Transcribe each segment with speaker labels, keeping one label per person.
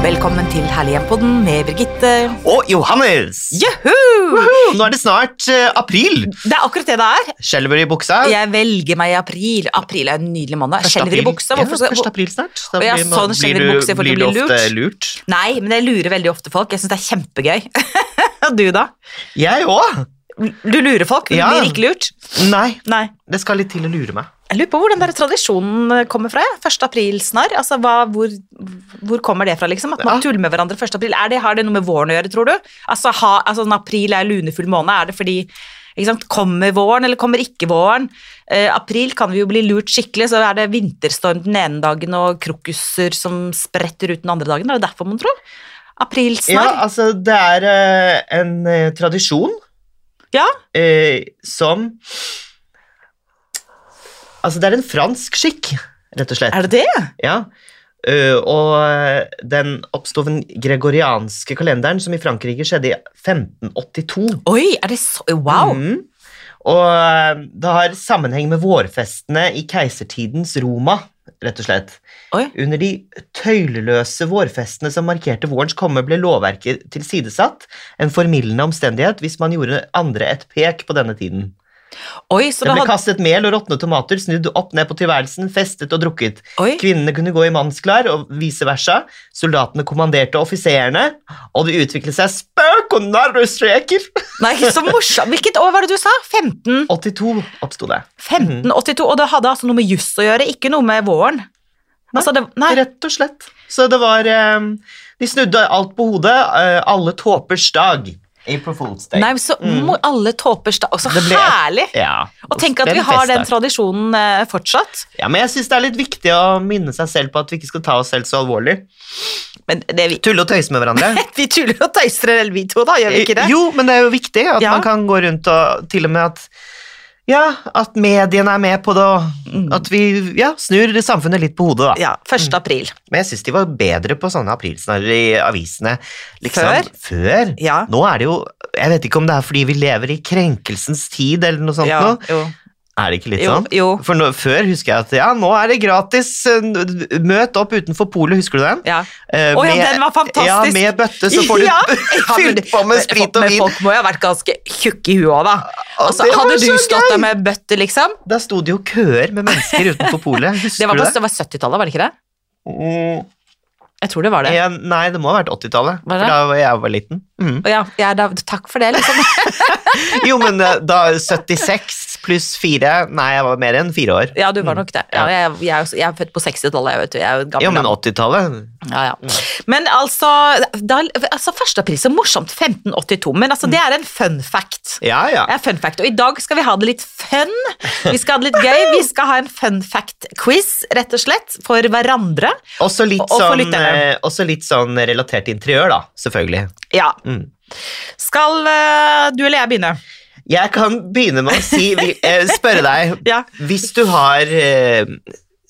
Speaker 1: Velkommen til Herlighjem-podden med Birgitte.
Speaker 2: Og Johannes!
Speaker 1: Juhu!
Speaker 2: Nå er det snart eh, april.
Speaker 1: Det er akkurat det det er.
Speaker 2: Skjelver i buksa.
Speaker 1: Jeg velger meg i april. April er en nydelig måned.
Speaker 2: Første
Speaker 1: Skjelver i
Speaker 2: april.
Speaker 1: buksa.
Speaker 2: Ja,
Speaker 1: Hvorfor skal
Speaker 2: første april snart. Da
Speaker 1: Å, ja,
Speaker 2: man-
Speaker 1: sånn skjelver i
Speaker 2: du-
Speaker 1: buksa for å
Speaker 2: blir
Speaker 1: bli
Speaker 2: du ofte lurt.
Speaker 1: Nei, men jeg lurer veldig ofte folk. Jeg syns det er kjempegøy. Og du, da?
Speaker 2: Jeg òg.
Speaker 1: Du lurer folk, men
Speaker 2: Ja.
Speaker 1: blir ikke lurt.
Speaker 2: Nei,
Speaker 1: Nei.
Speaker 2: det skal litt til å lure meg.
Speaker 1: Jeg lurer på hvor den der tradisjonen eh, kommer fra. jeg. 1. april snarr. Altså, hva, hvor, hvor kommer det fra, liksom? At man
Speaker 2: Ja.
Speaker 1: tuller med hverandre 1. april. Er det, har det noe med våren å gjøre, tror du? Altså, ha, altså en april er lunefull måned. Er det fordi ikke sant? Kommer våren, eller kommer ikke våren? Eh, april kan vi jo bli lurt skikkelig, så er det vinterstorm den ene dagen og krokuser som spretter ut den andre dagen. Er det derfor man tror? April
Speaker 2: Ja,
Speaker 1: snarr.
Speaker 2: altså, det er eh, en eh, tradisjon
Speaker 1: Ja.
Speaker 2: eh, som Altså, det er en fransk skikk, rett og slett.
Speaker 1: Er det det?
Speaker 2: Ja. Eh, og eh, den oppsto den gregorianske kalenderen, som i Frankrike skjedde i 1582.
Speaker 1: Oi, er det så Wow!
Speaker 2: Mhm. Og eh, det har sammenheng med vårfestene i keisertidens Roma, rett og slett.
Speaker 1: Oi.
Speaker 2: Under de tøyleløse vårfestene som markerte vårens komme, ble lovverket tilsidesatt. En formildende omstendighet hvis man gjorde andre et pek på denne tiden.
Speaker 1: Oi, så det
Speaker 2: Det ble
Speaker 1: hadde
Speaker 2: kastet mel og råtne tomater, snudd opp ned på tilværelsen, festet og drukket.
Speaker 1: Oi.
Speaker 2: Kvinnene kunne gå i mannsklær, og vice versa. Soldatene kommanderte offiserene, og det utviklet seg spøk og narrestreker.
Speaker 1: Nei, så morsomt. Hvilket år var det du sa? 15?
Speaker 2: 82 oppsto det. Mhm.
Speaker 1: 1582, og det hadde altså noe med juss å gjøre, ikke noe med våren.
Speaker 2: Nei,
Speaker 1: Altså, det, nei,
Speaker 2: Rett og slett. Så det var eh, De snudde alt på hodet. eh, alle tåpers dag. April Fool's Day.
Speaker 1: nei, så må alle tåper sta... Altså,
Speaker 2: Mm. Det ble-
Speaker 1: herlig!
Speaker 2: Ja.
Speaker 1: Og tenk at vi
Speaker 2: Den
Speaker 1: har
Speaker 2: festen.
Speaker 1: den tradisjonen eh, fortsatt.
Speaker 2: Ja, men jeg syns det er litt viktig å minne seg selv på at vi ikke skal ta oss selv så alvorlig.
Speaker 1: Men det, vi,
Speaker 2: Tulle og tøyse med hverandre.
Speaker 1: vi tuller og tøyser en del, vi to, da, gjør vi ikke det?
Speaker 2: Jo, men det er jo viktig at
Speaker 1: Ja.
Speaker 2: man kan gå rundt og til og med at ja, at mediene er med på det, og at vi ja, snur samfunnet litt på hodet. da.
Speaker 1: Mm. Ja, 1.
Speaker 2: Mm.
Speaker 1: april.
Speaker 2: Men jeg syns de var bedre på sånne aprilsnarrer i avisene.
Speaker 1: Før?
Speaker 2: Liksom. Før?
Speaker 1: Ja.
Speaker 2: Nå er det jo Jeg vet ikke om det er fordi vi lever i krenkelsens tid, eller noe sånt.
Speaker 1: Ja,
Speaker 2: nå.
Speaker 1: jo.
Speaker 2: Er det ikke litt
Speaker 1: Jo,
Speaker 2: sånn?
Speaker 1: jo.
Speaker 2: For nå, før husker jeg at ja, nå er det gratis. eh, Møt opp utenfor polet, husker du den?
Speaker 1: Ja.
Speaker 2: Eh,
Speaker 1: Å ja,
Speaker 2: med-
Speaker 1: den var fantastisk!
Speaker 2: Ja, med bøtte, så får du
Speaker 1: Ja.
Speaker 2: fylt på med sprit og
Speaker 1: Men
Speaker 2: vin.
Speaker 1: Folk må jo ha vært ganske tjukke i huet òg, da.
Speaker 2: Å,
Speaker 1: Altså,
Speaker 2: det var
Speaker 1: hadde du
Speaker 2: så
Speaker 1: stått
Speaker 2: gøy!
Speaker 1: der med bøtte, liksom?
Speaker 2: Da sto det jo køer med mennesker utenfor polet. Husker
Speaker 1: Det var,
Speaker 2: du
Speaker 1: på,
Speaker 2: det?
Speaker 1: det var 70-tallet, var det ikke det?
Speaker 2: Mm,
Speaker 1: Jeg tror det var det.
Speaker 2: ja, nei, det må ha vært 80-tallet,
Speaker 1: Var
Speaker 2: for
Speaker 1: det?
Speaker 2: da var jeg var liten. Mhm.
Speaker 1: Å Ja, ja, da, takk for det, liksom.
Speaker 2: Jo, men eh, da 76 pluss 4 Nei, jeg var mer enn 4 år.
Speaker 1: Ja, du var nok det. Ja,
Speaker 2: Ja.
Speaker 1: jeg, jeg, er jo- jeg er født på 60-tallet, jeg vet du. Jeg er jo et gammel
Speaker 2: Jo, men
Speaker 1: mann.
Speaker 2: 80-tallet
Speaker 1: ja, ja. Men altså, da, altså Første april, så morsomt. 1582. Men altså, det er en fun fact.
Speaker 2: Ja, ja.
Speaker 1: Det er fun fact, Og i dag skal vi ha det litt fun. Vi skal ha det litt gøy. Vi skal ha en fun fact-quiz, rett og slett, for hverandre.
Speaker 2: Også litt,
Speaker 1: Og- og for
Speaker 2: sånn,
Speaker 1: lytterne.
Speaker 2: eh, også litt sånn relatert til interiør, da. Selvfølgelig.
Speaker 1: Ja.
Speaker 2: Mm.
Speaker 1: Skal eh, du eller jeg begynne?
Speaker 2: Jeg kan begynne med å si, vi- eh, spørre deg
Speaker 1: Ja.
Speaker 2: Hvis du har eh,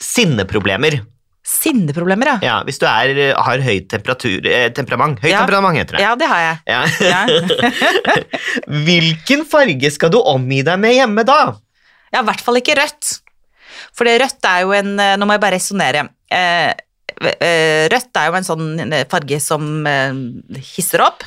Speaker 2: sinneproblemer
Speaker 1: Sinneproblemer, ja.
Speaker 2: ja, Hvis du er, eh, har høy temperatur, eh, temperament Høyt
Speaker 1: Ja.
Speaker 2: temperament heter det.
Speaker 1: Ja, det har jeg.
Speaker 2: Ja.
Speaker 1: Ja,
Speaker 2: Hvilken farge skal du omgi deg med hjemme da?
Speaker 1: Ja, i hvert fall ikke rødt. For det rødt er jo en eh, Nå må jeg bare resonnere. Eh, eh, rødt er jo en sånn eh, farge som eh, hisser opp.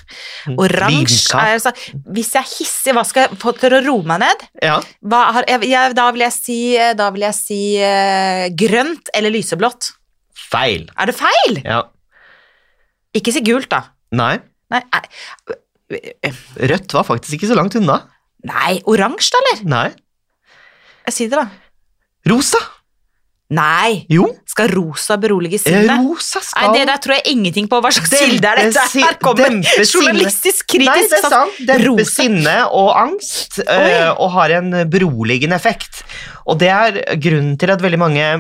Speaker 1: Oransje
Speaker 2: Lidenskap.
Speaker 1: er altså Hvis jeg hisser, hva skal jeg få til å roe meg ned?
Speaker 2: Ja.
Speaker 1: Hva har, jeg, jeg, da vil jeg si, eh, da vil jeg si eh, grønt eller lyseblått.
Speaker 2: Feil.
Speaker 1: Er det feil?
Speaker 2: Ja.
Speaker 1: Ikke si gult, da.
Speaker 2: Nei.
Speaker 1: Nei, eh, nei,
Speaker 2: Rødt var faktisk ikke så langt unna.
Speaker 1: nei oransje, da, eller?
Speaker 2: Nei.
Speaker 1: Jeg sier det, da.
Speaker 2: Rosa!
Speaker 1: Nei!
Speaker 2: Jo,
Speaker 1: Skal rosa berolige
Speaker 2: eh,
Speaker 1: sinnet?
Speaker 2: rosa skal
Speaker 1: Nei, det der tror jeg ingenting på. Hva slags
Speaker 2: Dempe
Speaker 1: kilde er dette?
Speaker 2: si-
Speaker 1: Her kommer
Speaker 2: dempe sinne.
Speaker 1: journalistisk
Speaker 2: Nei,
Speaker 1: kritisk
Speaker 2: det er sant. Dempe
Speaker 1: Rosa.
Speaker 2: sinne og angst, eh, og har en beroligende effekt. Og det er grunnen til at veldig mange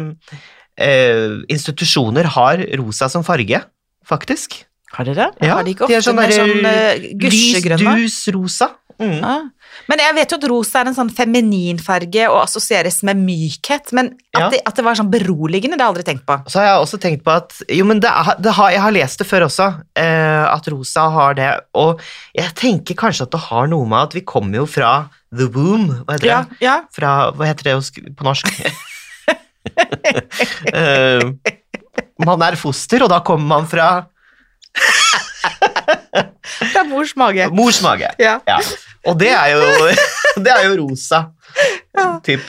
Speaker 2: eh, institusjoner har rosa som farge, faktisk.
Speaker 1: Har dere det?
Speaker 2: Ja,
Speaker 1: har de ikke ofte
Speaker 2: de er sånn
Speaker 1: mer
Speaker 2: der,
Speaker 1: sånn eh,
Speaker 2: Lys,
Speaker 1: gusjegrønn, da?
Speaker 2: dus, rosa. Mm.
Speaker 1: Ja. Men jeg vet jo at rosa er en sånn feminin farge og assosieres med mykhet, men at,
Speaker 2: Ja.
Speaker 1: det, at det var sånn beroligende, det har jeg aldri tenkt på.
Speaker 2: Så har jeg også tenkt på at Jo, men det, er- det har, jeg har lest det før også, eh, at rosa har det. Og jeg tenker kanskje at det har noe med at vi kommer jo fra the womb, hva heter det?
Speaker 1: Ja, ja.
Speaker 2: fra Hva heter det å sk- på norsk? Eh, man er foster, og da kommer man fra
Speaker 1: Det er mors mage.
Speaker 2: Mors mage.
Speaker 1: Ja.
Speaker 2: Ja. Og det er jo, det er jo rosa.
Speaker 1: Ja.
Speaker 2: Typ.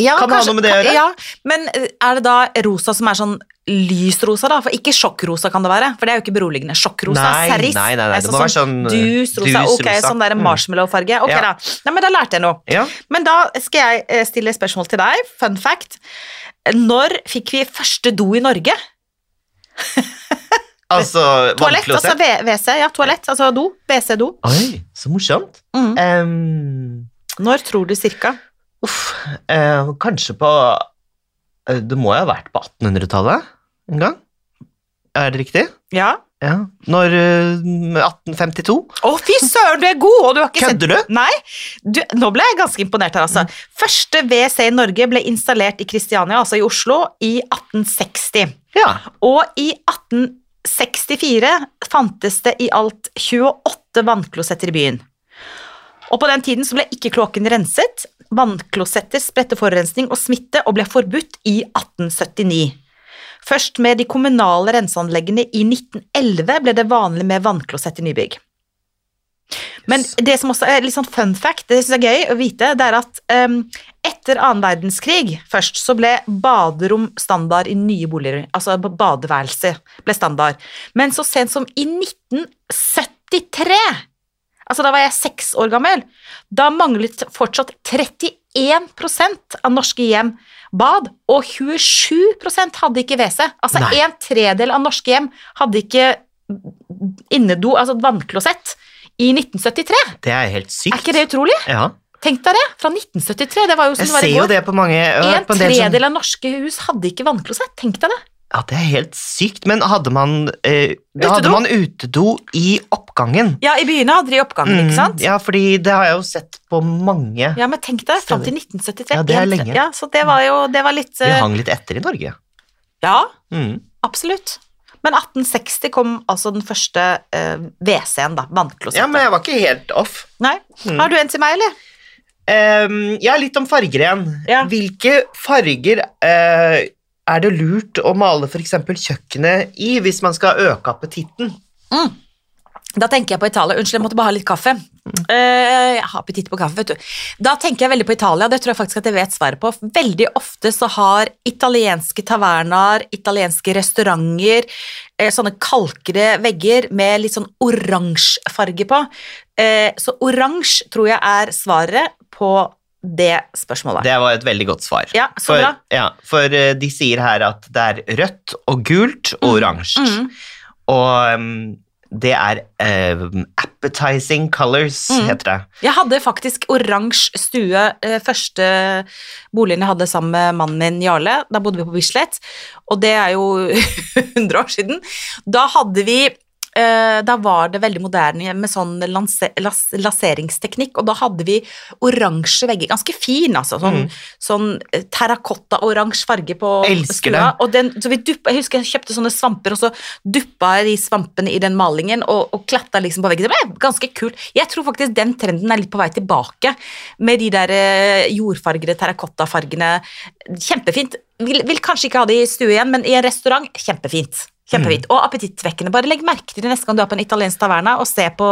Speaker 1: Ja,
Speaker 2: Kan det ha noe med det å gjøre?
Speaker 1: Ja, men eh, er det da rosa som er sånn lysrosa, da? For ikke sjokkrosa kan det være, for det er jo ikke beroligende. Sjokkrosa,
Speaker 2: Nei,
Speaker 1: serris.
Speaker 2: nei, nei, nei,
Speaker 1: altså
Speaker 2: det må være sånn, eh,
Speaker 1: dus-rosa.
Speaker 2: dus
Speaker 1: Ok,
Speaker 2: rosa.
Speaker 1: sånn der
Speaker 2: Mm.
Speaker 1: marshmallow-farge. Ok,
Speaker 2: Ja.
Speaker 1: da. Nei, men da lærte jeg noe.
Speaker 2: Ja.
Speaker 1: Men da skal jeg eh, stille et spørsmål til deg. Fun fact. Når fikk vi første do i Norge?
Speaker 2: Altså
Speaker 1: Toalett, altså
Speaker 2: vannklosett.
Speaker 1: V- WC. Ja, toalett, altså do. WC-do.
Speaker 2: Oi, så morsomt.
Speaker 1: Mm.
Speaker 2: Em,
Speaker 1: Når tror du cirka?
Speaker 2: uff, eh, kanskje på eh, Det må jo ha vært på 1800-tallet en gang? Er det riktig?
Speaker 1: Ja.
Speaker 2: Ja. Når eh, 1852?
Speaker 1: Å, fy søren, du er god! Og du har ikke sett
Speaker 2: Kødder du?
Speaker 1: Nei, du, nå ble jeg ganske imponert her,
Speaker 2: Mm.
Speaker 1: altså. Første WC i Norge ble installert i Kristiania, altså i Oslo, i 1860.
Speaker 2: Ja.
Speaker 1: Og i 1864 fantes det i alt 28 vannklosetter i byen. Og på den tiden så ble ikke kloakken renset. Vannklosetter spredte forurensning og smitte og ble forbudt i 1879. Først med de kommunale renseanleggene i 1911 ble det vanlig med vannklosett i nybygg. Men
Speaker 2: Yes.
Speaker 1: det som også er litt sånn fun fact, det synes jeg er gøy å vite, det er at em, etter annen verdenskrig først, så ble baderom standard i nye boliger. Altså b- badeværelse ble standard. Men så sent som i 1973, altså da var jeg seks år gammel, da manglet fortsatt 31 av norske hjem bad, og 27 hadde ikke WC. Altså
Speaker 2: Nei.
Speaker 1: en tredel av norske hjem hadde ikke innedo, altså et vannklosett, i 1973.
Speaker 2: Det er helt sykt.
Speaker 1: Er ikke det utrolig?
Speaker 2: Ja.
Speaker 1: Tenk deg det, fra 1973. Det var jo som
Speaker 2: Jeg
Speaker 1: det var
Speaker 2: ser
Speaker 1: i
Speaker 2: jo
Speaker 1: går.
Speaker 2: det på mange jeg har
Speaker 1: En
Speaker 2: hørt på en del sånn-
Speaker 1: tredel av norske hus hadde ikke vannklosett. Tenk deg det.
Speaker 2: Ja, det er helt sykt. Men hadde man, eh, da hadde
Speaker 1: Utedo?
Speaker 2: man utedo i oppgangen.
Speaker 1: Ja, i byene hadde de oppgang, ikke sant?
Speaker 2: Mm, ja, fordi det har jeg jo sett på mange.
Speaker 1: Ja, men tenk deg, fram til 1973.
Speaker 2: Ja, det er
Speaker 1: en-
Speaker 2: lenge.
Speaker 1: Ja, så det var jo, det var litt
Speaker 2: Vi
Speaker 1: eh,
Speaker 2: hang litt etter i Norge.
Speaker 1: Ja,
Speaker 2: Mm.
Speaker 1: absolutt. Men 1860 kom altså den første eh, WC-en, da. Vannklosettet.
Speaker 2: Ja, men jeg var ikke helt off.
Speaker 1: Nei.
Speaker 2: Mm.
Speaker 1: Har du en til meg, eller?
Speaker 2: Um, ja, litt om farger igjen.
Speaker 1: Ja.
Speaker 2: Hvilke farger eh, er det lurt å male f.eks. kjøkkenet i hvis man skal øke appetitten?
Speaker 1: Da tenker jeg på Italia. Unnskyld, jeg måtte bare ha litt kaffe.
Speaker 2: Mm.
Speaker 1: Eh, jeg har appetitt på kaffe, vet du. Da tenker jeg veldig på Italia, det tror jeg faktisk at jeg vet svaret på. Veldig ofte så har italienske tavernaer, italienske restauranter, eh, sånne kalkede vegger med litt sånn oransjefarge på. Eh, så oransje tror jeg er svaret på det spørsmålet.
Speaker 2: Det var et veldig godt svar.
Speaker 1: ja, så
Speaker 2: For,
Speaker 1: bra.
Speaker 2: ja, for eh, de sier her at det er rødt og gult og oransje.
Speaker 1: Mm.
Speaker 2: Og um, det er um, appetizing colors,
Speaker 1: Mm.
Speaker 2: heter det.
Speaker 1: Jeg hadde faktisk oransje stue eh, første boligen jeg hadde sammen med mannen min Jarle. Da bodde vi på Bislett, og det er jo 100 år siden. Da hadde vi eh, da var det veldig moderne med sånn lanse, las, laseringsteknikk, og da hadde vi oransje vegger. Ganske fin, altså. Sånn, sånn eh, terrakotta-oransje farge på stua.
Speaker 2: Elsker den.
Speaker 1: Og den, så vi duppa, jeg husker jeg kjøpte sånne svamper, og så duppa jeg de svampene i den malingen og, og klatta liksom på veggen. Det ble ganske kult. Jeg tror faktisk den trenden er litt på vei tilbake, med de der eh, jordfargede terrakottafargene. Kjempefint. Vil, vil kanskje ikke ha det i stue igjen, men i en restaurant, kjempefint. Kjempefint.
Speaker 2: Mm.
Speaker 1: Og appetittvekkende. Bare legg merke til det neste gang du er på en italiensk taverna og se på,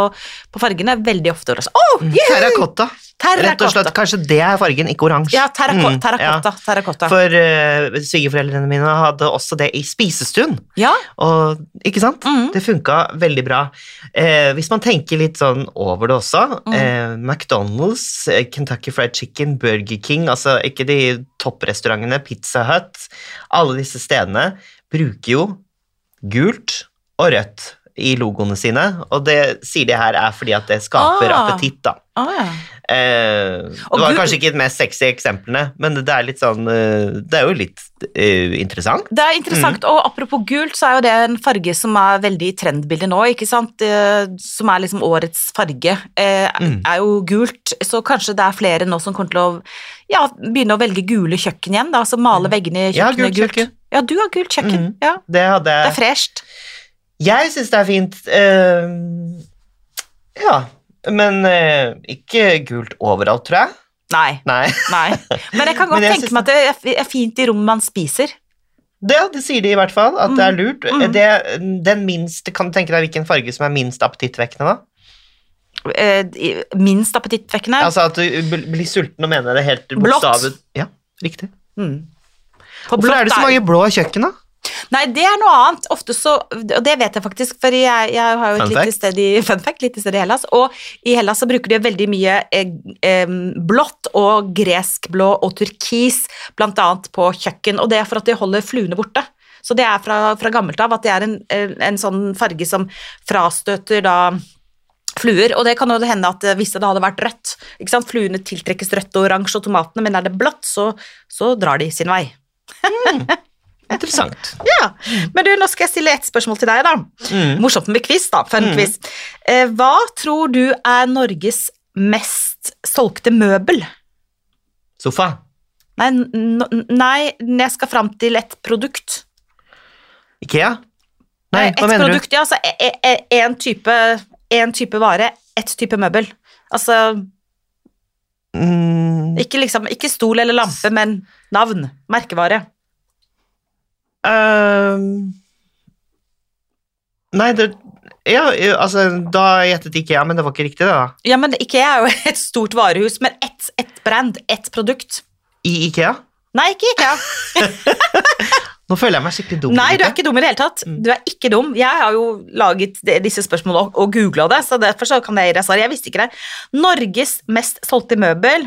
Speaker 1: på fargene. Veldig ofte. Å, oh,
Speaker 2: Terrakotta. Mm. Rett og slett,
Speaker 1: terrakotta!
Speaker 2: kanskje det er fargen, ikke oransje.
Speaker 1: Ja, terrako-
Speaker 2: Mm,
Speaker 1: terrakotta.
Speaker 2: ja.
Speaker 1: terrakotta.
Speaker 2: For eh, svigerforeldrene mine hadde også det i spisestuen.
Speaker 1: Ja,
Speaker 2: Og, ikke sant?
Speaker 1: Mhm.
Speaker 2: Det funka veldig bra. Eh, hvis man tenker litt sånn over det også
Speaker 1: Mhm.
Speaker 2: eh, McDonald's, eh, Kentucky Fried Chicken, Burger King Altså ikke de topprestaurantene, Pizza Hut Alle disse stedene bruker jo gult og rødt i logoene sine, og det sier de her er fordi at det skaper
Speaker 1: Ah.
Speaker 2: appetitt, da.
Speaker 1: Å, ja.
Speaker 2: Eh,
Speaker 1: Og
Speaker 2: det var
Speaker 1: gul-
Speaker 2: kanskje ikke de mest sexy eksemplene, men det er litt sånn eh, Det er jo litt eh, interessant.
Speaker 1: Det er interessant,
Speaker 2: Mm.
Speaker 1: og apropos gult, så er jo det en farge som er veldig i trendbildet nå, ikke sant? Eh, Som er liksom årets farge, eh,
Speaker 2: Mm.
Speaker 1: er jo gult, så kanskje det er flere nå som kommer til å ja, begynne å velge gule kjøkken igjen, da, altså male veggene i
Speaker 2: Ja,
Speaker 1: kjøkkenet
Speaker 2: Mm. gult
Speaker 1: gult.
Speaker 2: kjøkken.
Speaker 1: Ja, du har gult kjøkken,
Speaker 2: Mm.
Speaker 1: ja.
Speaker 2: Det hadde
Speaker 1: Det
Speaker 2: jeg
Speaker 1: er fresht.
Speaker 2: Jeg syns det er fint. eh, ja. Men eh, ikke gult overalt, tror jeg.
Speaker 1: Nei,
Speaker 2: Nei.
Speaker 1: nei. Men jeg kan
Speaker 2: Men
Speaker 1: godt
Speaker 2: jeg
Speaker 1: tenke
Speaker 2: synes-
Speaker 1: meg at det er f- er fint i rommet man spiser.
Speaker 2: Det, det sier de i hvert fall, at det er lurt.
Speaker 1: Mm.
Speaker 2: Det, den minste, kan du tenke deg hvilken farge som er minst appetittvekkende, da?
Speaker 1: Eh, i- minst appetittvekkende.
Speaker 2: Altså at du bl- blir sulten og mener det helt
Speaker 1: Blått.
Speaker 2: bokstavet. Ja, riktig.
Speaker 1: mm. På
Speaker 2: Hvorfor
Speaker 1: blått
Speaker 2: er det så mange blå kjøkken, da?
Speaker 1: Nei, det er noe annet. Ofte så, og det vet jeg faktisk, for jeg, jeg har jo
Speaker 2: Fun
Speaker 1: et lite
Speaker 2: fact.
Speaker 1: sted, i, fun fact, lite sted i Hellas, og i Hellas så bruker de veldig mye eh, eh, blått og gresk blå og turkis, blant annet på kjøkken, og det er for at de holder fluene borte. Så det er fra, fra gammelt av at det er en, en en sånn farge som frastøter da fluer, og det kan jo hende at eh, hvis det hadde vært rødt, ikke sant, fluene tiltrekkes rødt og oransje og tomatene, men er det blått, så, så drar de sin vei.
Speaker 2: Hmm. Interessant.
Speaker 1: Ja, men du, nå skal jeg stille ett spørsmål til deg da.
Speaker 2: Mm.
Speaker 1: Morsomt med quiz da, fun
Speaker 2: Mm.
Speaker 1: quiz. Eh, hva tror du er Norges mest solgte møbel?
Speaker 2: Sofa.
Speaker 1: Nei, n- n- nei, jeg skal fram til et produkt.
Speaker 2: Ikea. Nei,
Speaker 1: Eh,
Speaker 2: hva
Speaker 1: et
Speaker 2: mener du?
Speaker 1: produkt, Ja, altså e- e- e- en type, en type vare, ett type møbel. Altså,
Speaker 2: Mm.
Speaker 1: ikke, liksom, ikke stol eller lampe, men navn, merkevare.
Speaker 2: Ehm. Nei, det ja, ja, altså, da gjettet Ikea, men det var ikke riktig, da.
Speaker 1: Ja, men IKEA er jo et stort varehus, men ett et brand, ett produkt.
Speaker 2: I Ikea?
Speaker 1: Nei, ikke IKEA.
Speaker 2: Nå føler jeg meg skikkelig dum.
Speaker 1: Nei, du er
Speaker 2: Ulrikke.
Speaker 1: ikke dum i det hele tatt.
Speaker 2: Mm.
Speaker 1: Du er ikke dum. Jeg har jo laget det- disse spørsmålene og, og googla det, så derfor så kan jeg gi deg svar. Jeg visste ikke det. Norges mest solgte møbel.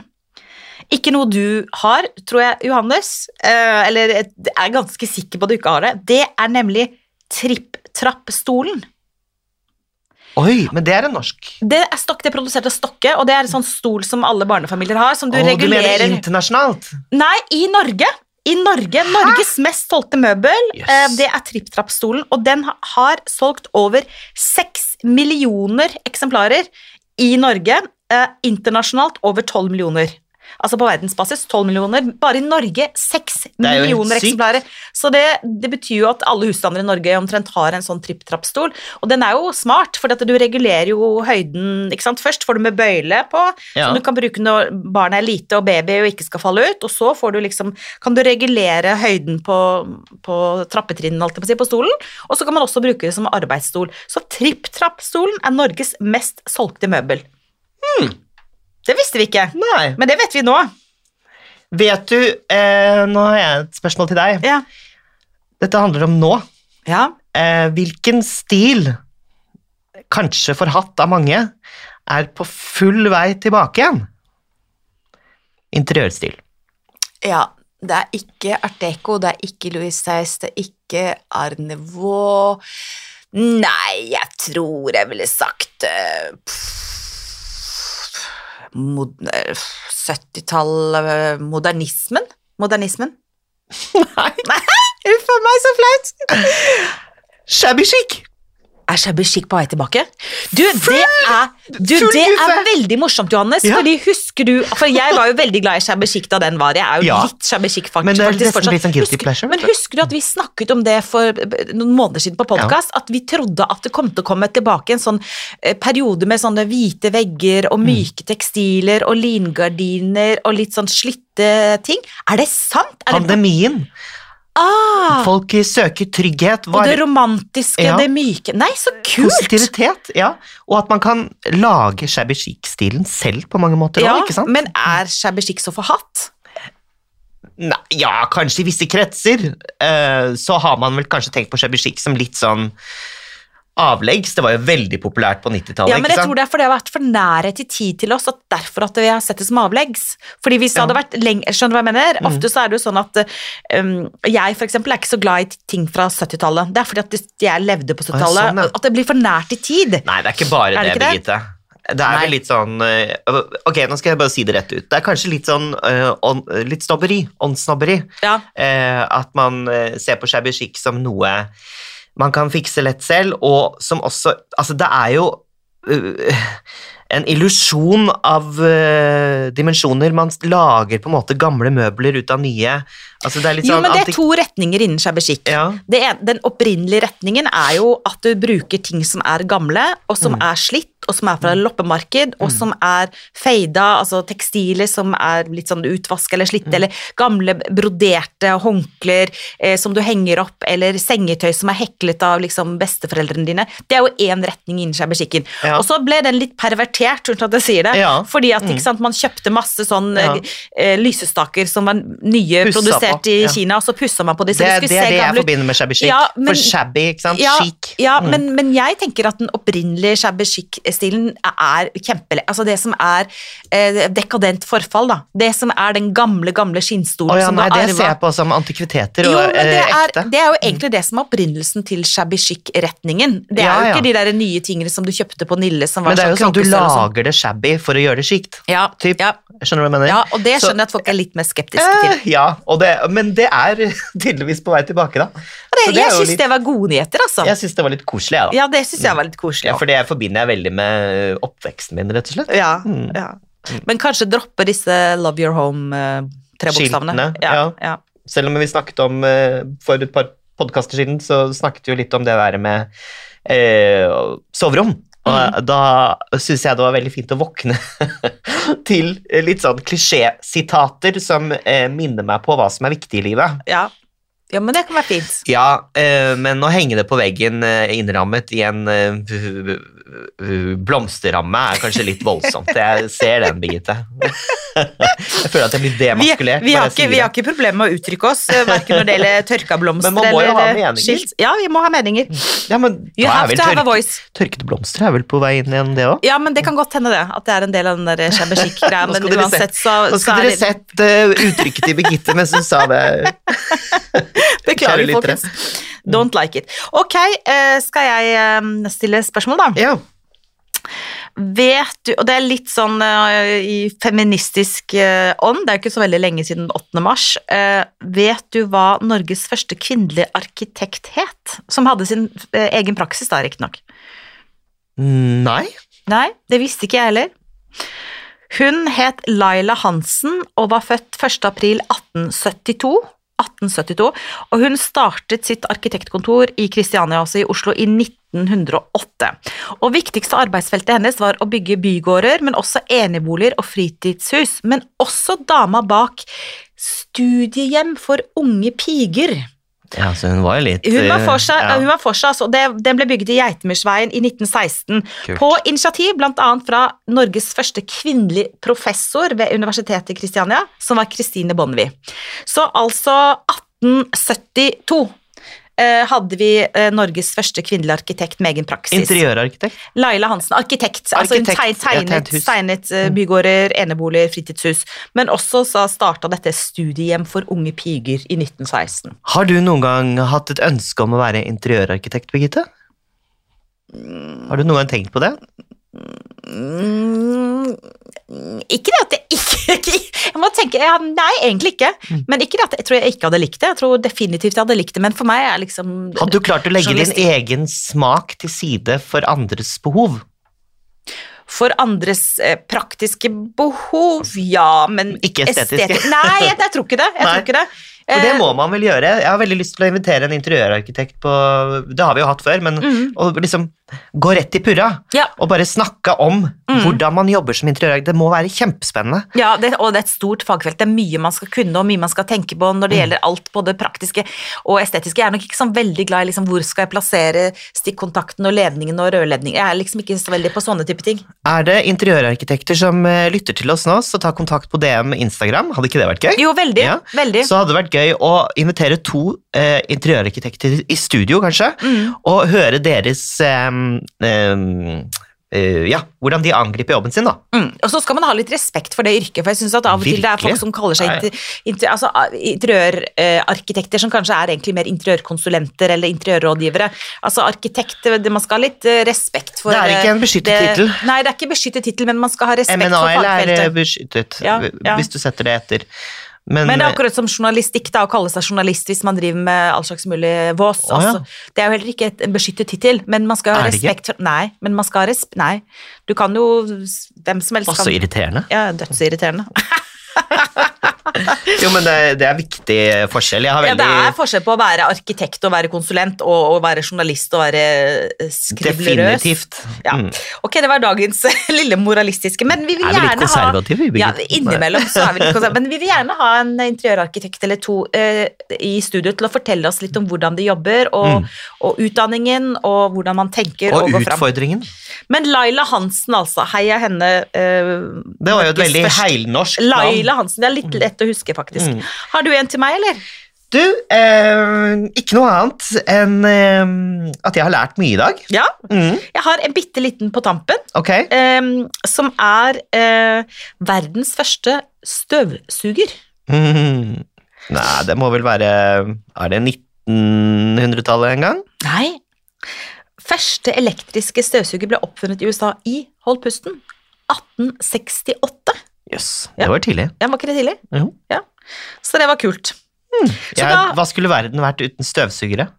Speaker 1: Ikke noe du har, tror jeg, Johannes. Eh, eller jeg er ganske sikker på at du ikke har det. Det er nemlig tripp-trapp-stolen.
Speaker 2: Oi, men det er en norsk.
Speaker 1: Det er stokk, det er produsert av Stokke, og det er en sånn stol som alle barnefamilier har. som du
Speaker 2: Å, du
Speaker 1: regulerer...
Speaker 2: mener internasjonalt?
Speaker 1: Nei, i Norge. I Norge, Norges mest solgte møbel,
Speaker 2: Yes.
Speaker 1: eh, det er tripp-trapp-stolen. Og den ha- har solgt over seks millioner eksemplarer i Norge. Eh, internasjonalt over tolv millioner. Altså på verdensbasis tolv millioner. Bare i Norge seks
Speaker 2: Det er jo helt
Speaker 1: millioner
Speaker 2: sykt.
Speaker 1: eksemplarer. Så det, det betyr jo at alle husstander i Norge omtrent har en sånn tripp-trapp-stol. Og den er jo smart, for du regulerer jo høyden ikke sant? Først får du med bøyle på,
Speaker 2: Ja.
Speaker 1: som du kan bruke når barnet er lite og baby og ikke skal falle ut, og så får du liksom, kan du regulere høyden på, på trappetrinnen, holdt jeg på å si, på stolen, og så kan man også bruke det som arbeidsstol. Så tripp-trapp-stolen er Norges mest solgte møbel. Det visste vi ikke,
Speaker 2: Nei.
Speaker 1: men det vet vi nå.
Speaker 2: Vet du eh, Nå har jeg et spørsmål til deg.
Speaker 1: Ja.
Speaker 2: Dette handler om nå.
Speaker 1: Ja.
Speaker 2: Eh, hvilken stil, kanskje forhatt av mange, er på full vei tilbake igjen? Interiørstil.
Speaker 3: Ja, det er ikke Art Deco, det er ikke Louis Theis, det er ikke Art Nouveau. Nei, jeg tror jeg ville sagt eh, pff, mod- eh, 70-tall, eh, modernismen.
Speaker 1: Modernismen.
Speaker 3: Uff a meg, så flaut!
Speaker 2: Shabby chic!
Speaker 1: Er shabby chic på vei tilbake? Du, det er, du,
Speaker 2: full
Speaker 1: det er
Speaker 2: guffe.
Speaker 1: veldig morsomt, Johannes.
Speaker 2: Ja.
Speaker 1: Fordi husker du, For jeg var jo veldig glad i shabby chic da den var. Jeg er jo
Speaker 2: Ja.
Speaker 1: litt shabby chic fakt-
Speaker 2: Men det er
Speaker 1: faktisk
Speaker 2: nesten
Speaker 1: fortsatt.
Speaker 2: litt sånn guilty
Speaker 1: Husker-
Speaker 2: pleasure.
Speaker 1: Men husker du at vi snakket om det for eh, noen måneder siden på podkast? At vi trodde at det kom til å komme tilbake en sånn eh, periode med sånne hvite vegger
Speaker 2: Mm.
Speaker 1: og myke tekstiler og lingardiner og litt sånn slitte ting. Er det sant? Er det,
Speaker 2: Pandemien.
Speaker 1: ah,
Speaker 2: Folk søker trygghet,
Speaker 1: og det
Speaker 2: varig
Speaker 1: romantiske,
Speaker 2: Ja.
Speaker 1: det myke Nei, så kult!
Speaker 2: positivitet. Ja. Og at man kan lage shabby chic-stilen selv på mange måter òg,
Speaker 1: Ja,
Speaker 2: ikke sant?
Speaker 1: men er shabby chic så forhatt?
Speaker 2: Nei, ja, kanskje i visse kretser. eh, så har man vel kanskje tenkt på shabby chic som litt sånn avleggs. Det var jo veldig populært på 90-tallet.
Speaker 1: Ja, men
Speaker 2: ikke
Speaker 1: jeg
Speaker 2: sant?
Speaker 1: tror det er fordi det har vært for nærhet i tid til oss, at derfor at vi har sett det som avleggs. Fordi hvis det
Speaker 2: Ja. Mm.
Speaker 1: hadde vært lenger, skjønner du hva jeg mener? Ofte så er det jo sånn at um, jeg for eksempel er ikke så glad i ting fra 70-tallet. Det er fordi at jeg levde på 70-tallet,
Speaker 2: sånn, ja.
Speaker 1: at det blir for nært i tid.
Speaker 2: Nei, det er ikke bare
Speaker 1: Er
Speaker 2: det,
Speaker 1: det ikke
Speaker 2: Birgitte. Det er
Speaker 1: Nei.
Speaker 2: vel litt sånn eh, Ok, nå skal jeg bare si det rett ut. Det er kanskje litt sånn eh, ånd- litt snobberi. Åndssnobberi.
Speaker 1: Ja.
Speaker 2: Eh, at man eh, ser på shabby chic som noe man kan fikse lett selv, og som også Altså, det er jo eh, en illusjon av eh, dimensjoner. Man lager på en måte gamle møbler ut av nye. Altså, det er litt
Speaker 1: Jo,
Speaker 2: sånn
Speaker 1: men det er
Speaker 2: antik-
Speaker 1: to retninger innen shabashik.
Speaker 2: Ja.
Speaker 1: Det en, den opprinnelige retningen er jo at du bruker ting som er gamle, og som
Speaker 2: Mm.
Speaker 1: er slitt, og som er fra loppemarked, og som er feida, altså tekstiler som er litt sånn utvaska eller
Speaker 2: Mm.
Speaker 1: slitte, eller gamle broderte håndklær eh, som du henger opp, eller sengetøy som er heklet av liksom besteforeldrene dine. Det er jo én retning innen shabashiken.
Speaker 2: Ja.
Speaker 1: Og så ble den litt pervertert, unnskyld at jeg sier det,
Speaker 2: Ja. Mm.
Speaker 1: fordi at ikke sant, man kjøpte masse sånn
Speaker 2: Ja.
Speaker 1: eh, eh, lysestaker som var nye
Speaker 2: Pussa
Speaker 1: produsert
Speaker 2: på,
Speaker 1: i
Speaker 2: ja.
Speaker 1: Kina, og så pussa man på de så
Speaker 2: Det,
Speaker 1: vi
Speaker 2: er-
Speaker 1: skulle
Speaker 2: det er
Speaker 1: se
Speaker 2: det jeg
Speaker 1: gamle ut.
Speaker 2: forbinder med shabby chic.
Speaker 1: Ja, men-
Speaker 2: For shabby, ikke sant?
Speaker 1: Ja,
Speaker 2: Chic.
Speaker 1: ja
Speaker 2: Mm.
Speaker 1: men, men jeg tenker at den opprinnelige shabby chic-stilen er kjempe... Altså det som er eh, dekadent forfall, da. Det som er den gamle, gamle skinnstolen
Speaker 2: Å ja,
Speaker 1: som
Speaker 2: nei,
Speaker 1: du
Speaker 2: det
Speaker 1: arva.
Speaker 2: ser jeg på som antikviteter
Speaker 1: Jo,
Speaker 2: og
Speaker 1: men det
Speaker 2: eh,
Speaker 1: er,
Speaker 2: ekte.
Speaker 1: det er jo egentlig det som er opprinnelsen til shabby chic-retningen. Det er
Speaker 2: Ja,
Speaker 1: jo ikke
Speaker 2: ja.
Speaker 1: de der nye tingene som du kjøpte på Nille som var
Speaker 2: men det er jo sånn at du
Speaker 1: krokusølv og sånn.
Speaker 2: lager det shabby for å gjøre det chict.
Speaker 1: ja,
Speaker 2: typ.
Speaker 1: ja,
Speaker 2: Skjønner du hva jeg mener?
Speaker 1: ja, og det
Speaker 2: Så-
Speaker 1: skjønner jeg at folk er litt mer skeptiske til.
Speaker 2: Eh, ja, og det, men det er tydeligvis på vei tilbake, da.
Speaker 1: Det,
Speaker 2: Så det er
Speaker 1: jeg
Speaker 2: jo
Speaker 1: syns
Speaker 2: litt-
Speaker 1: det var gode nyheter, altså.
Speaker 2: Jeg syns det var litt koselig, jeg, da.
Speaker 1: Ja, det syns jeg var litt koselig.
Speaker 2: Ja,
Speaker 1: også.
Speaker 2: for det forbinder jeg veldig med eh, oppveksten min, rett og slett.
Speaker 1: Ja, ja.
Speaker 2: Mm.
Speaker 1: Men kanskje droppe disse Love Your Home-trebokstavene.
Speaker 2: Skiltene, ja.
Speaker 1: ja.
Speaker 2: Selv om vi snakket om eh, For et par podkaster siden så snakket vi jo litt om det der med eh, soverom. Og
Speaker 1: Mm.
Speaker 2: da syns jeg det var veldig fint å våkne til litt sånn klisjésitater som eh, minner meg på hva som er viktig i livet.
Speaker 1: Ja. ja, men det kan være fint.
Speaker 2: Ja, eh, men å henge det på veggen eh, innrammet i en eh, v- v- blomsterramme er kanskje litt voldsomt. Jeg ser den, Birgitte. Jeg føler at jeg blir
Speaker 1: Vi,
Speaker 2: demaskulert.
Speaker 1: vi,
Speaker 2: bare
Speaker 1: har
Speaker 2: jeg sier
Speaker 1: ikke, vi har ikke problemer med å uttrykke oss, eh, verken når det gjelder tørka blomster
Speaker 2: Men man må jo
Speaker 1: eller
Speaker 2: ha
Speaker 1: eh,
Speaker 2: meninger.
Speaker 1: skilt. Ja, vi må ha meninger.
Speaker 2: det. Ja, men
Speaker 1: You
Speaker 2: da er
Speaker 1: have
Speaker 2: vel
Speaker 1: to have a
Speaker 2: tørk,
Speaker 1: voice.
Speaker 2: tørkete blomster er vel på vei inn igjen, det òg?
Speaker 1: Ja, men det kan godt hende det, at det er en del av den der shabby greia
Speaker 2: Nå
Speaker 1: men
Speaker 2: skal dere se.
Speaker 1: uansett så,
Speaker 2: Nå
Speaker 1: så
Speaker 2: skulle
Speaker 1: er
Speaker 2: dere
Speaker 1: det
Speaker 2: sett eh, uttrykket til Birgitte mens hun sa det.
Speaker 1: Beklager,
Speaker 2: kjære lyttere.
Speaker 1: folkens. Don't like it. Ok, eh, skal jeg eh, stille spørsmål, da?
Speaker 2: Ja.
Speaker 1: Vet du, og det er litt sånn eh, i feministisk eh, ånd, det er jo ikke så veldig lenge siden 8. mars, eh, vet du hva Norges første kvinnelige arkitekt het? Som hadde sin eh, egen praksis da, riktignok.
Speaker 2: Nei.
Speaker 1: Nei, det visste ikke jeg heller. Hun het Laila Hansen og var født 1. april 1872. 1872, og hun startet sitt arkitektkontor i Kristiania, altså i Oslo, i 1908. Og viktigste arbeidsfeltet hennes var å bygge bygårder, men også eneboliger og fritidshus. Men også dama bak studiehjem for unge piger.
Speaker 2: Ja, så hun var jo litt
Speaker 1: Hun var
Speaker 2: eh,
Speaker 1: for seg,
Speaker 2: ja.
Speaker 1: hun var for seg altså, det, den ble bygget i Geitmyrsveien i 1916.
Speaker 2: Kult.
Speaker 1: På initiativ bl.a. fra Norges første kvinnelige professor ved Universitetet i Kristiania, som var Kristine Bonnevie. Så altså 1872 eh, hadde vi eh, Norges første kvinnelige arkitekt med egen praksis.
Speaker 2: Interiørarkitekt.
Speaker 1: Laila Hansen, arkitekt. Altså hun
Speaker 2: Arkitekt,
Speaker 1: teg-
Speaker 2: ja, tegnet
Speaker 1: tegnet,
Speaker 2: hus. Mm.
Speaker 1: tegnet eh, bygårder, eneboliger, fritidshus. Men også så starta dette studiehjem for unge piger i 1916.
Speaker 2: Har du noen gang hatt et ønske om å være interiørarkitekt, Birgitte? Har du noen gang tenkt på det?
Speaker 1: Mm, ikke det at jeg ikke, ikke Jeg må tenke ja, Nei, egentlig ikke.
Speaker 2: Mm.
Speaker 1: Men ikke det at jeg tror jeg ikke hadde likt det. Jeg tror definitivt jeg hadde likt det, men for meg er liksom
Speaker 2: Hadde du klart å legge din
Speaker 1: Journalistikk.
Speaker 2: egen smak til side for andres behov?
Speaker 1: For andres eh, praktiske behov, ja, men
Speaker 2: Ikke estetiske.
Speaker 1: estetisk- Nei, jeg, jeg tror ikke det. Jeg
Speaker 2: Nei.
Speaker 1: tror ikke det.
Speaker 2: For det
Speaker 1: Eh,
Speaker 2: må man vel gjøre. Jeg har veldig lyst til å invitere en interiørarkitekt på Det har vi jo hatt før, men å liksom gå rett i purra
Speaker 1: Ja.
Speaker 2: og bare snakke om hvordan man jobber som interiørarkitekt. Det må være kjempespennende.
Speaker 1: Ja, det, og det er et stort fagfelt. Det er mye man skal kunne og mye man skal tenke på når det
Speaker 2: Mm.
Speaker 1: gjelder alt, både praktiske og estetiske. Jeg er nok ikke sånn veldig glad i liksom, hvor skal jeg plassere stikkontakten og ledningen og rørledningen. Jeg er liksom ikke så veldig på sånne type ting.
Speaker 2: Er det interiørarkitekter som eh, lytter til oss nå, så ta kontakt på DM Instagram. Hadde ikke det vært gøy?
Speaker 1: Jo, veldig.
Speaker 2: Ja.
Speaker 1: veldig.
Speaker 2: Så hadde det vært gøy å invitere to eh, interiørarkitekter i studio, kanskje,
Speaker 1: Mm.
Speaker 2: og høre deres eh, eh, eh, Ja, hvordan de angriper jobben sin, da.
Speaker 1: Mm. Og så skal man ha litt respekt for det yrket, for jeg syns at av og til det er folk
Speaker 2: Virkelig.
Speaker 1: som kaller seg
Speaker 2: Nei.
Speaker 1: inter, inter, altså, ah, interiørarkitekter, som kanskje er egentlig mer interiørkonsulenter eller interiørrådgivere. Altså arkitekt, det- man skal ha litt eh, respekt for eh,
Speaker 2: Det er ikke en beskyttet
Speaker 1: det-
Speaker 2: tittel.
Speaker 1: Nei, det er ikke beskyttet tittel, men man skal ha respekt for
Speaker 2: MNAL er
Speaker 1: fagfeltet.
Speaker 2: eh, beskyttet,
Speaker 1: Ja,
Speaker 2: v-
Speaker 1: ja.
Speaker 2: hvis du setter det etter. Men, eh,
Speaker 1: Men det er akkurat som journalistikk, da, å kalle seg journalist hvis man driver med all slags mulig vås.
Speaker 2: Å, ja.
Speaker 1: altså. Det er jo heller ikke et, en beskyttet tittel, men man skal
Speaker 2: Er
Speaker 1: ha
Speaker 2: det ikke?
Speaker 1: respekt for Nei, men man skal ha resp... Nei. Du kan jo Hvem som helst
Speaker 2: også
Speaker 1: kan
Speaker 2: irriterende.
Speaker 1: Ja, dødsirriterende.
Speaker 2: Jo, men det, det er viktig forskjell. Jeg har
Speaker 1: Ja, det
Speaker 2: veldig
Speaker 1: er forskjell på å være arkitekt og være konsulent og å være journalist og være eh, skriblerøs.
Speaker 2: Definitivt.
Speaker 1: Ja.
Speaker 2: Mm.
Speaker 1: Ok, det var dagens eh, lille moralistiske, men vi vil
Speaker 2: Er vi litt
Speaker 1: gjerne ha
Speaker 2: konservative?
Speaker 1: ja,
Speaker 2: Birgit?
Speaker 1: innimellom så er vi litt konservative, men vi vil gjerne ha en interiørarkitekt eller to eh, i studio til å fortelle oss litt om hvordan de jobber, og, og utdanningen, og hvordan man tenker og,
Speaker 2: Mm. Og
Speaker 1: går fram.
Speaker 2: utfordringen.
Speaker 1: Men Laila Hansen, altså. Heia henne. Eh,
Speaker 2: Det var jo et
Speaker 1: Norges
Speaker 2: veldig
Speaker 1: første-
Speaker 2: heilnorsk navn.
Speaker 1: Laila Hansen, det er litt lett å huske, faktisk.
Speaker 2: Mm.
Speaker 1: Har du en til meg, eller?
Speaker 2: Du, eh, ikke noe annet enn eh, at jeg har lært mye i dag.
Speaker 1: Ja.
Speaker 2: Mm,
Speaker 1: Jeg har en bitte liten på tampen,
Speaker 2: ok.
Speaker 1: eh, som er eh, verdens første støvsuger.
Speaker 2: Mm. Nei, det må vel være Er det 1900-tallet en gang?
Speaker 1: Nei. Første elektriske støvsuger ble oppfunnet i USA i, hold pusten, 1868.
Speaker 2: Jøss, yes,
Speaker 1: Ja.
Speaker 2: det var tidlig.
Speaker 1: Ja, var ikke det tidlig?
Speaker 2: Jo.
Speaker 1: Ja. Så det var kult.
Speaker 2: Jeg,
Speaker 1: da-
Speaker 2: hva skulle verden vært uten støvsugere?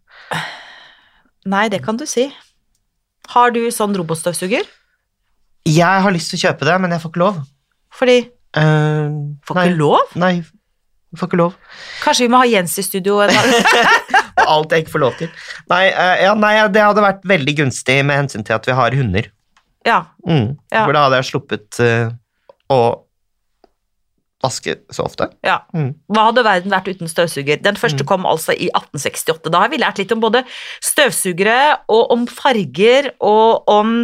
Speaker 1: Nei, det kan du si. Har du sånn robotstøvsuger?
Speaker 2: Jeg har lyst til å kjøpe det, men jeg får ikke lov.
Speaker 1: Fordi
Speaker 2: Eh,
Speaker 1: Får
Speaker 2: nei,
Speaker 1: ikke lov?
Speaker 2: Nei, jeg får ikke lov.
Speaker 1: Kanskje vi må ha Jens i studio en dag?
Speaker 2: Og alt jeg ikke får lov til. Nei, eh, ja, nei, det hadde vært veldig gunstig med hensyn til at vi har hunder.
Speaker 1: Ja.
Speaker 2: Mm.
Speaker 1: Ja.
Speaker 2: For da hadde jeg sluppet eh, å vaske så ofte.
Speaker 1: ja.
Speaker 2: Mm.
Speaker 1: Hva hadde verden vært uten støvsuger? Den første kom altså i 1868. Da har vi lært litt om både støvsugere og om farger og om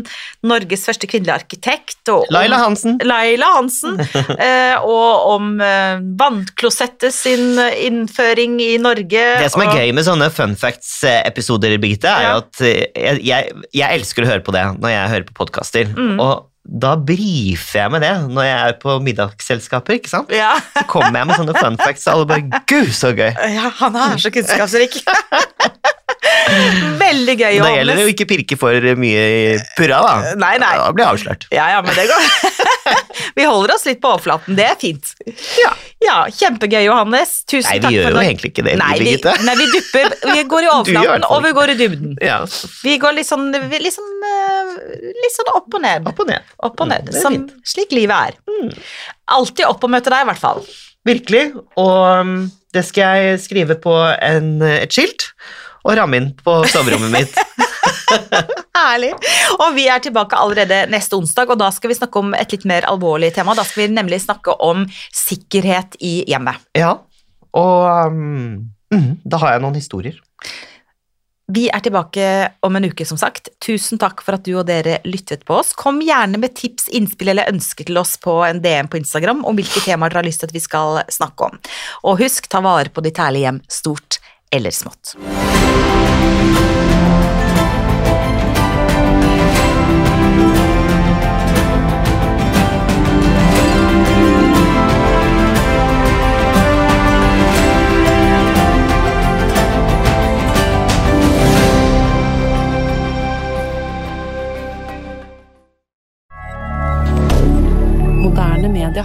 Speaker 1: Norges første kvinnelige arkitekt. Og om-
Speaker 2: Laila Hansen.
Speaker 1: Laila Hansen, eh, og om eh, vannklosettet sin eh, innføring i Norge.
Speaker 2: Det som er
Speaker 1: og,
Speaker 2: gøy med sånne fun facts-episoder, Birgitte, er jo
Speaker 1: Ja.
Speaker 2: at eh, jeg, jeg, jeg elsker å høre på det når jeg hører på podkaster.
Speaker 1: Mm.
Speaker 2: Og da brifer jeg med det når jeg er på middagsselskaper, ikke sant?
Speaker 1: Ja,
Speaker 2: Så kommer jeg med sånne fun facts, og alle bare Gud, så gøy!
Speaker 1: ja, han er så kunnskapsrik. Veldig gøy å
Speaker 2: Da
Speaker 1: ha
Speaker 2: gjelder det
Speaker 1: med.
Speaker 2: å ikke pirke for mye i purra, da.
Speaker 1: Nei, nei.
Speaker 2: Da blir jeg avslørt.
Speaker 1: Ja, ja, men det går. Vi holder oss litt på overflaten, det er fint.
Speaker 2: Ja.
Speaker 1: Kjempegøy, Johannes. Tusen
Speaker 2: Nei, vi
Speaker 1: takk
Speaker 2: gjør
Speaker 1: for
Speaker 2: jo
Speaker 1: nå.
Speaker 2: egentlig ikke det,
Speaker 1: Nei, vi,
Speaker 2: Birgitte.
Speaker 1: nei, vi dupper. Vi går i
Speaker 2: Du gjør i hvert
Speaker 1: overflaten,
Speaker 2: fall
Speaker 1: og vi går i dybden.
Speaker 2: Ja,
Speaker 1: Vi går litt sånn, vi- litt sånn, eh, litt sånn opp og ned.
Speaker 2: opp og ned.
Speaker 1: Opp og
Speaker 2: Mm,
Speaker 1: ned,
Speaker 2: det er
Speaker 1: som,
Speaker 2: fint. Mm.
Speaker 1: slik livet er. Alltid opp og møte deg, i hvert fall.
Speaker 2: Virkelig. Og um, det skal jeg skrive på en, eh, et skilt og ramme inn på soverommet mitt.
Speaker 1: Herlig. Og vi er tilbake allerede neste onsdag, og da skal vi snakke om et litt mer alvorlig tema. Da skal vi nemlig snakke om sikkerhet i hjemmet.
Speaker 2: Ja, og um, mm, da har jeg noen historier.
Speaker 1: Vi er tilbake om en uke, som sagt. Tusen takk for at du og dere lyttet på oss. Kom gjerne med tips, innspill eller ønsker til oss på en DM på Instagram om hvilke temaer dere har lyst til at vi skal snakke om. Og husk, ta vare på ditt herlige hjem, stort eller smått.
Speaker 4: Moderne media.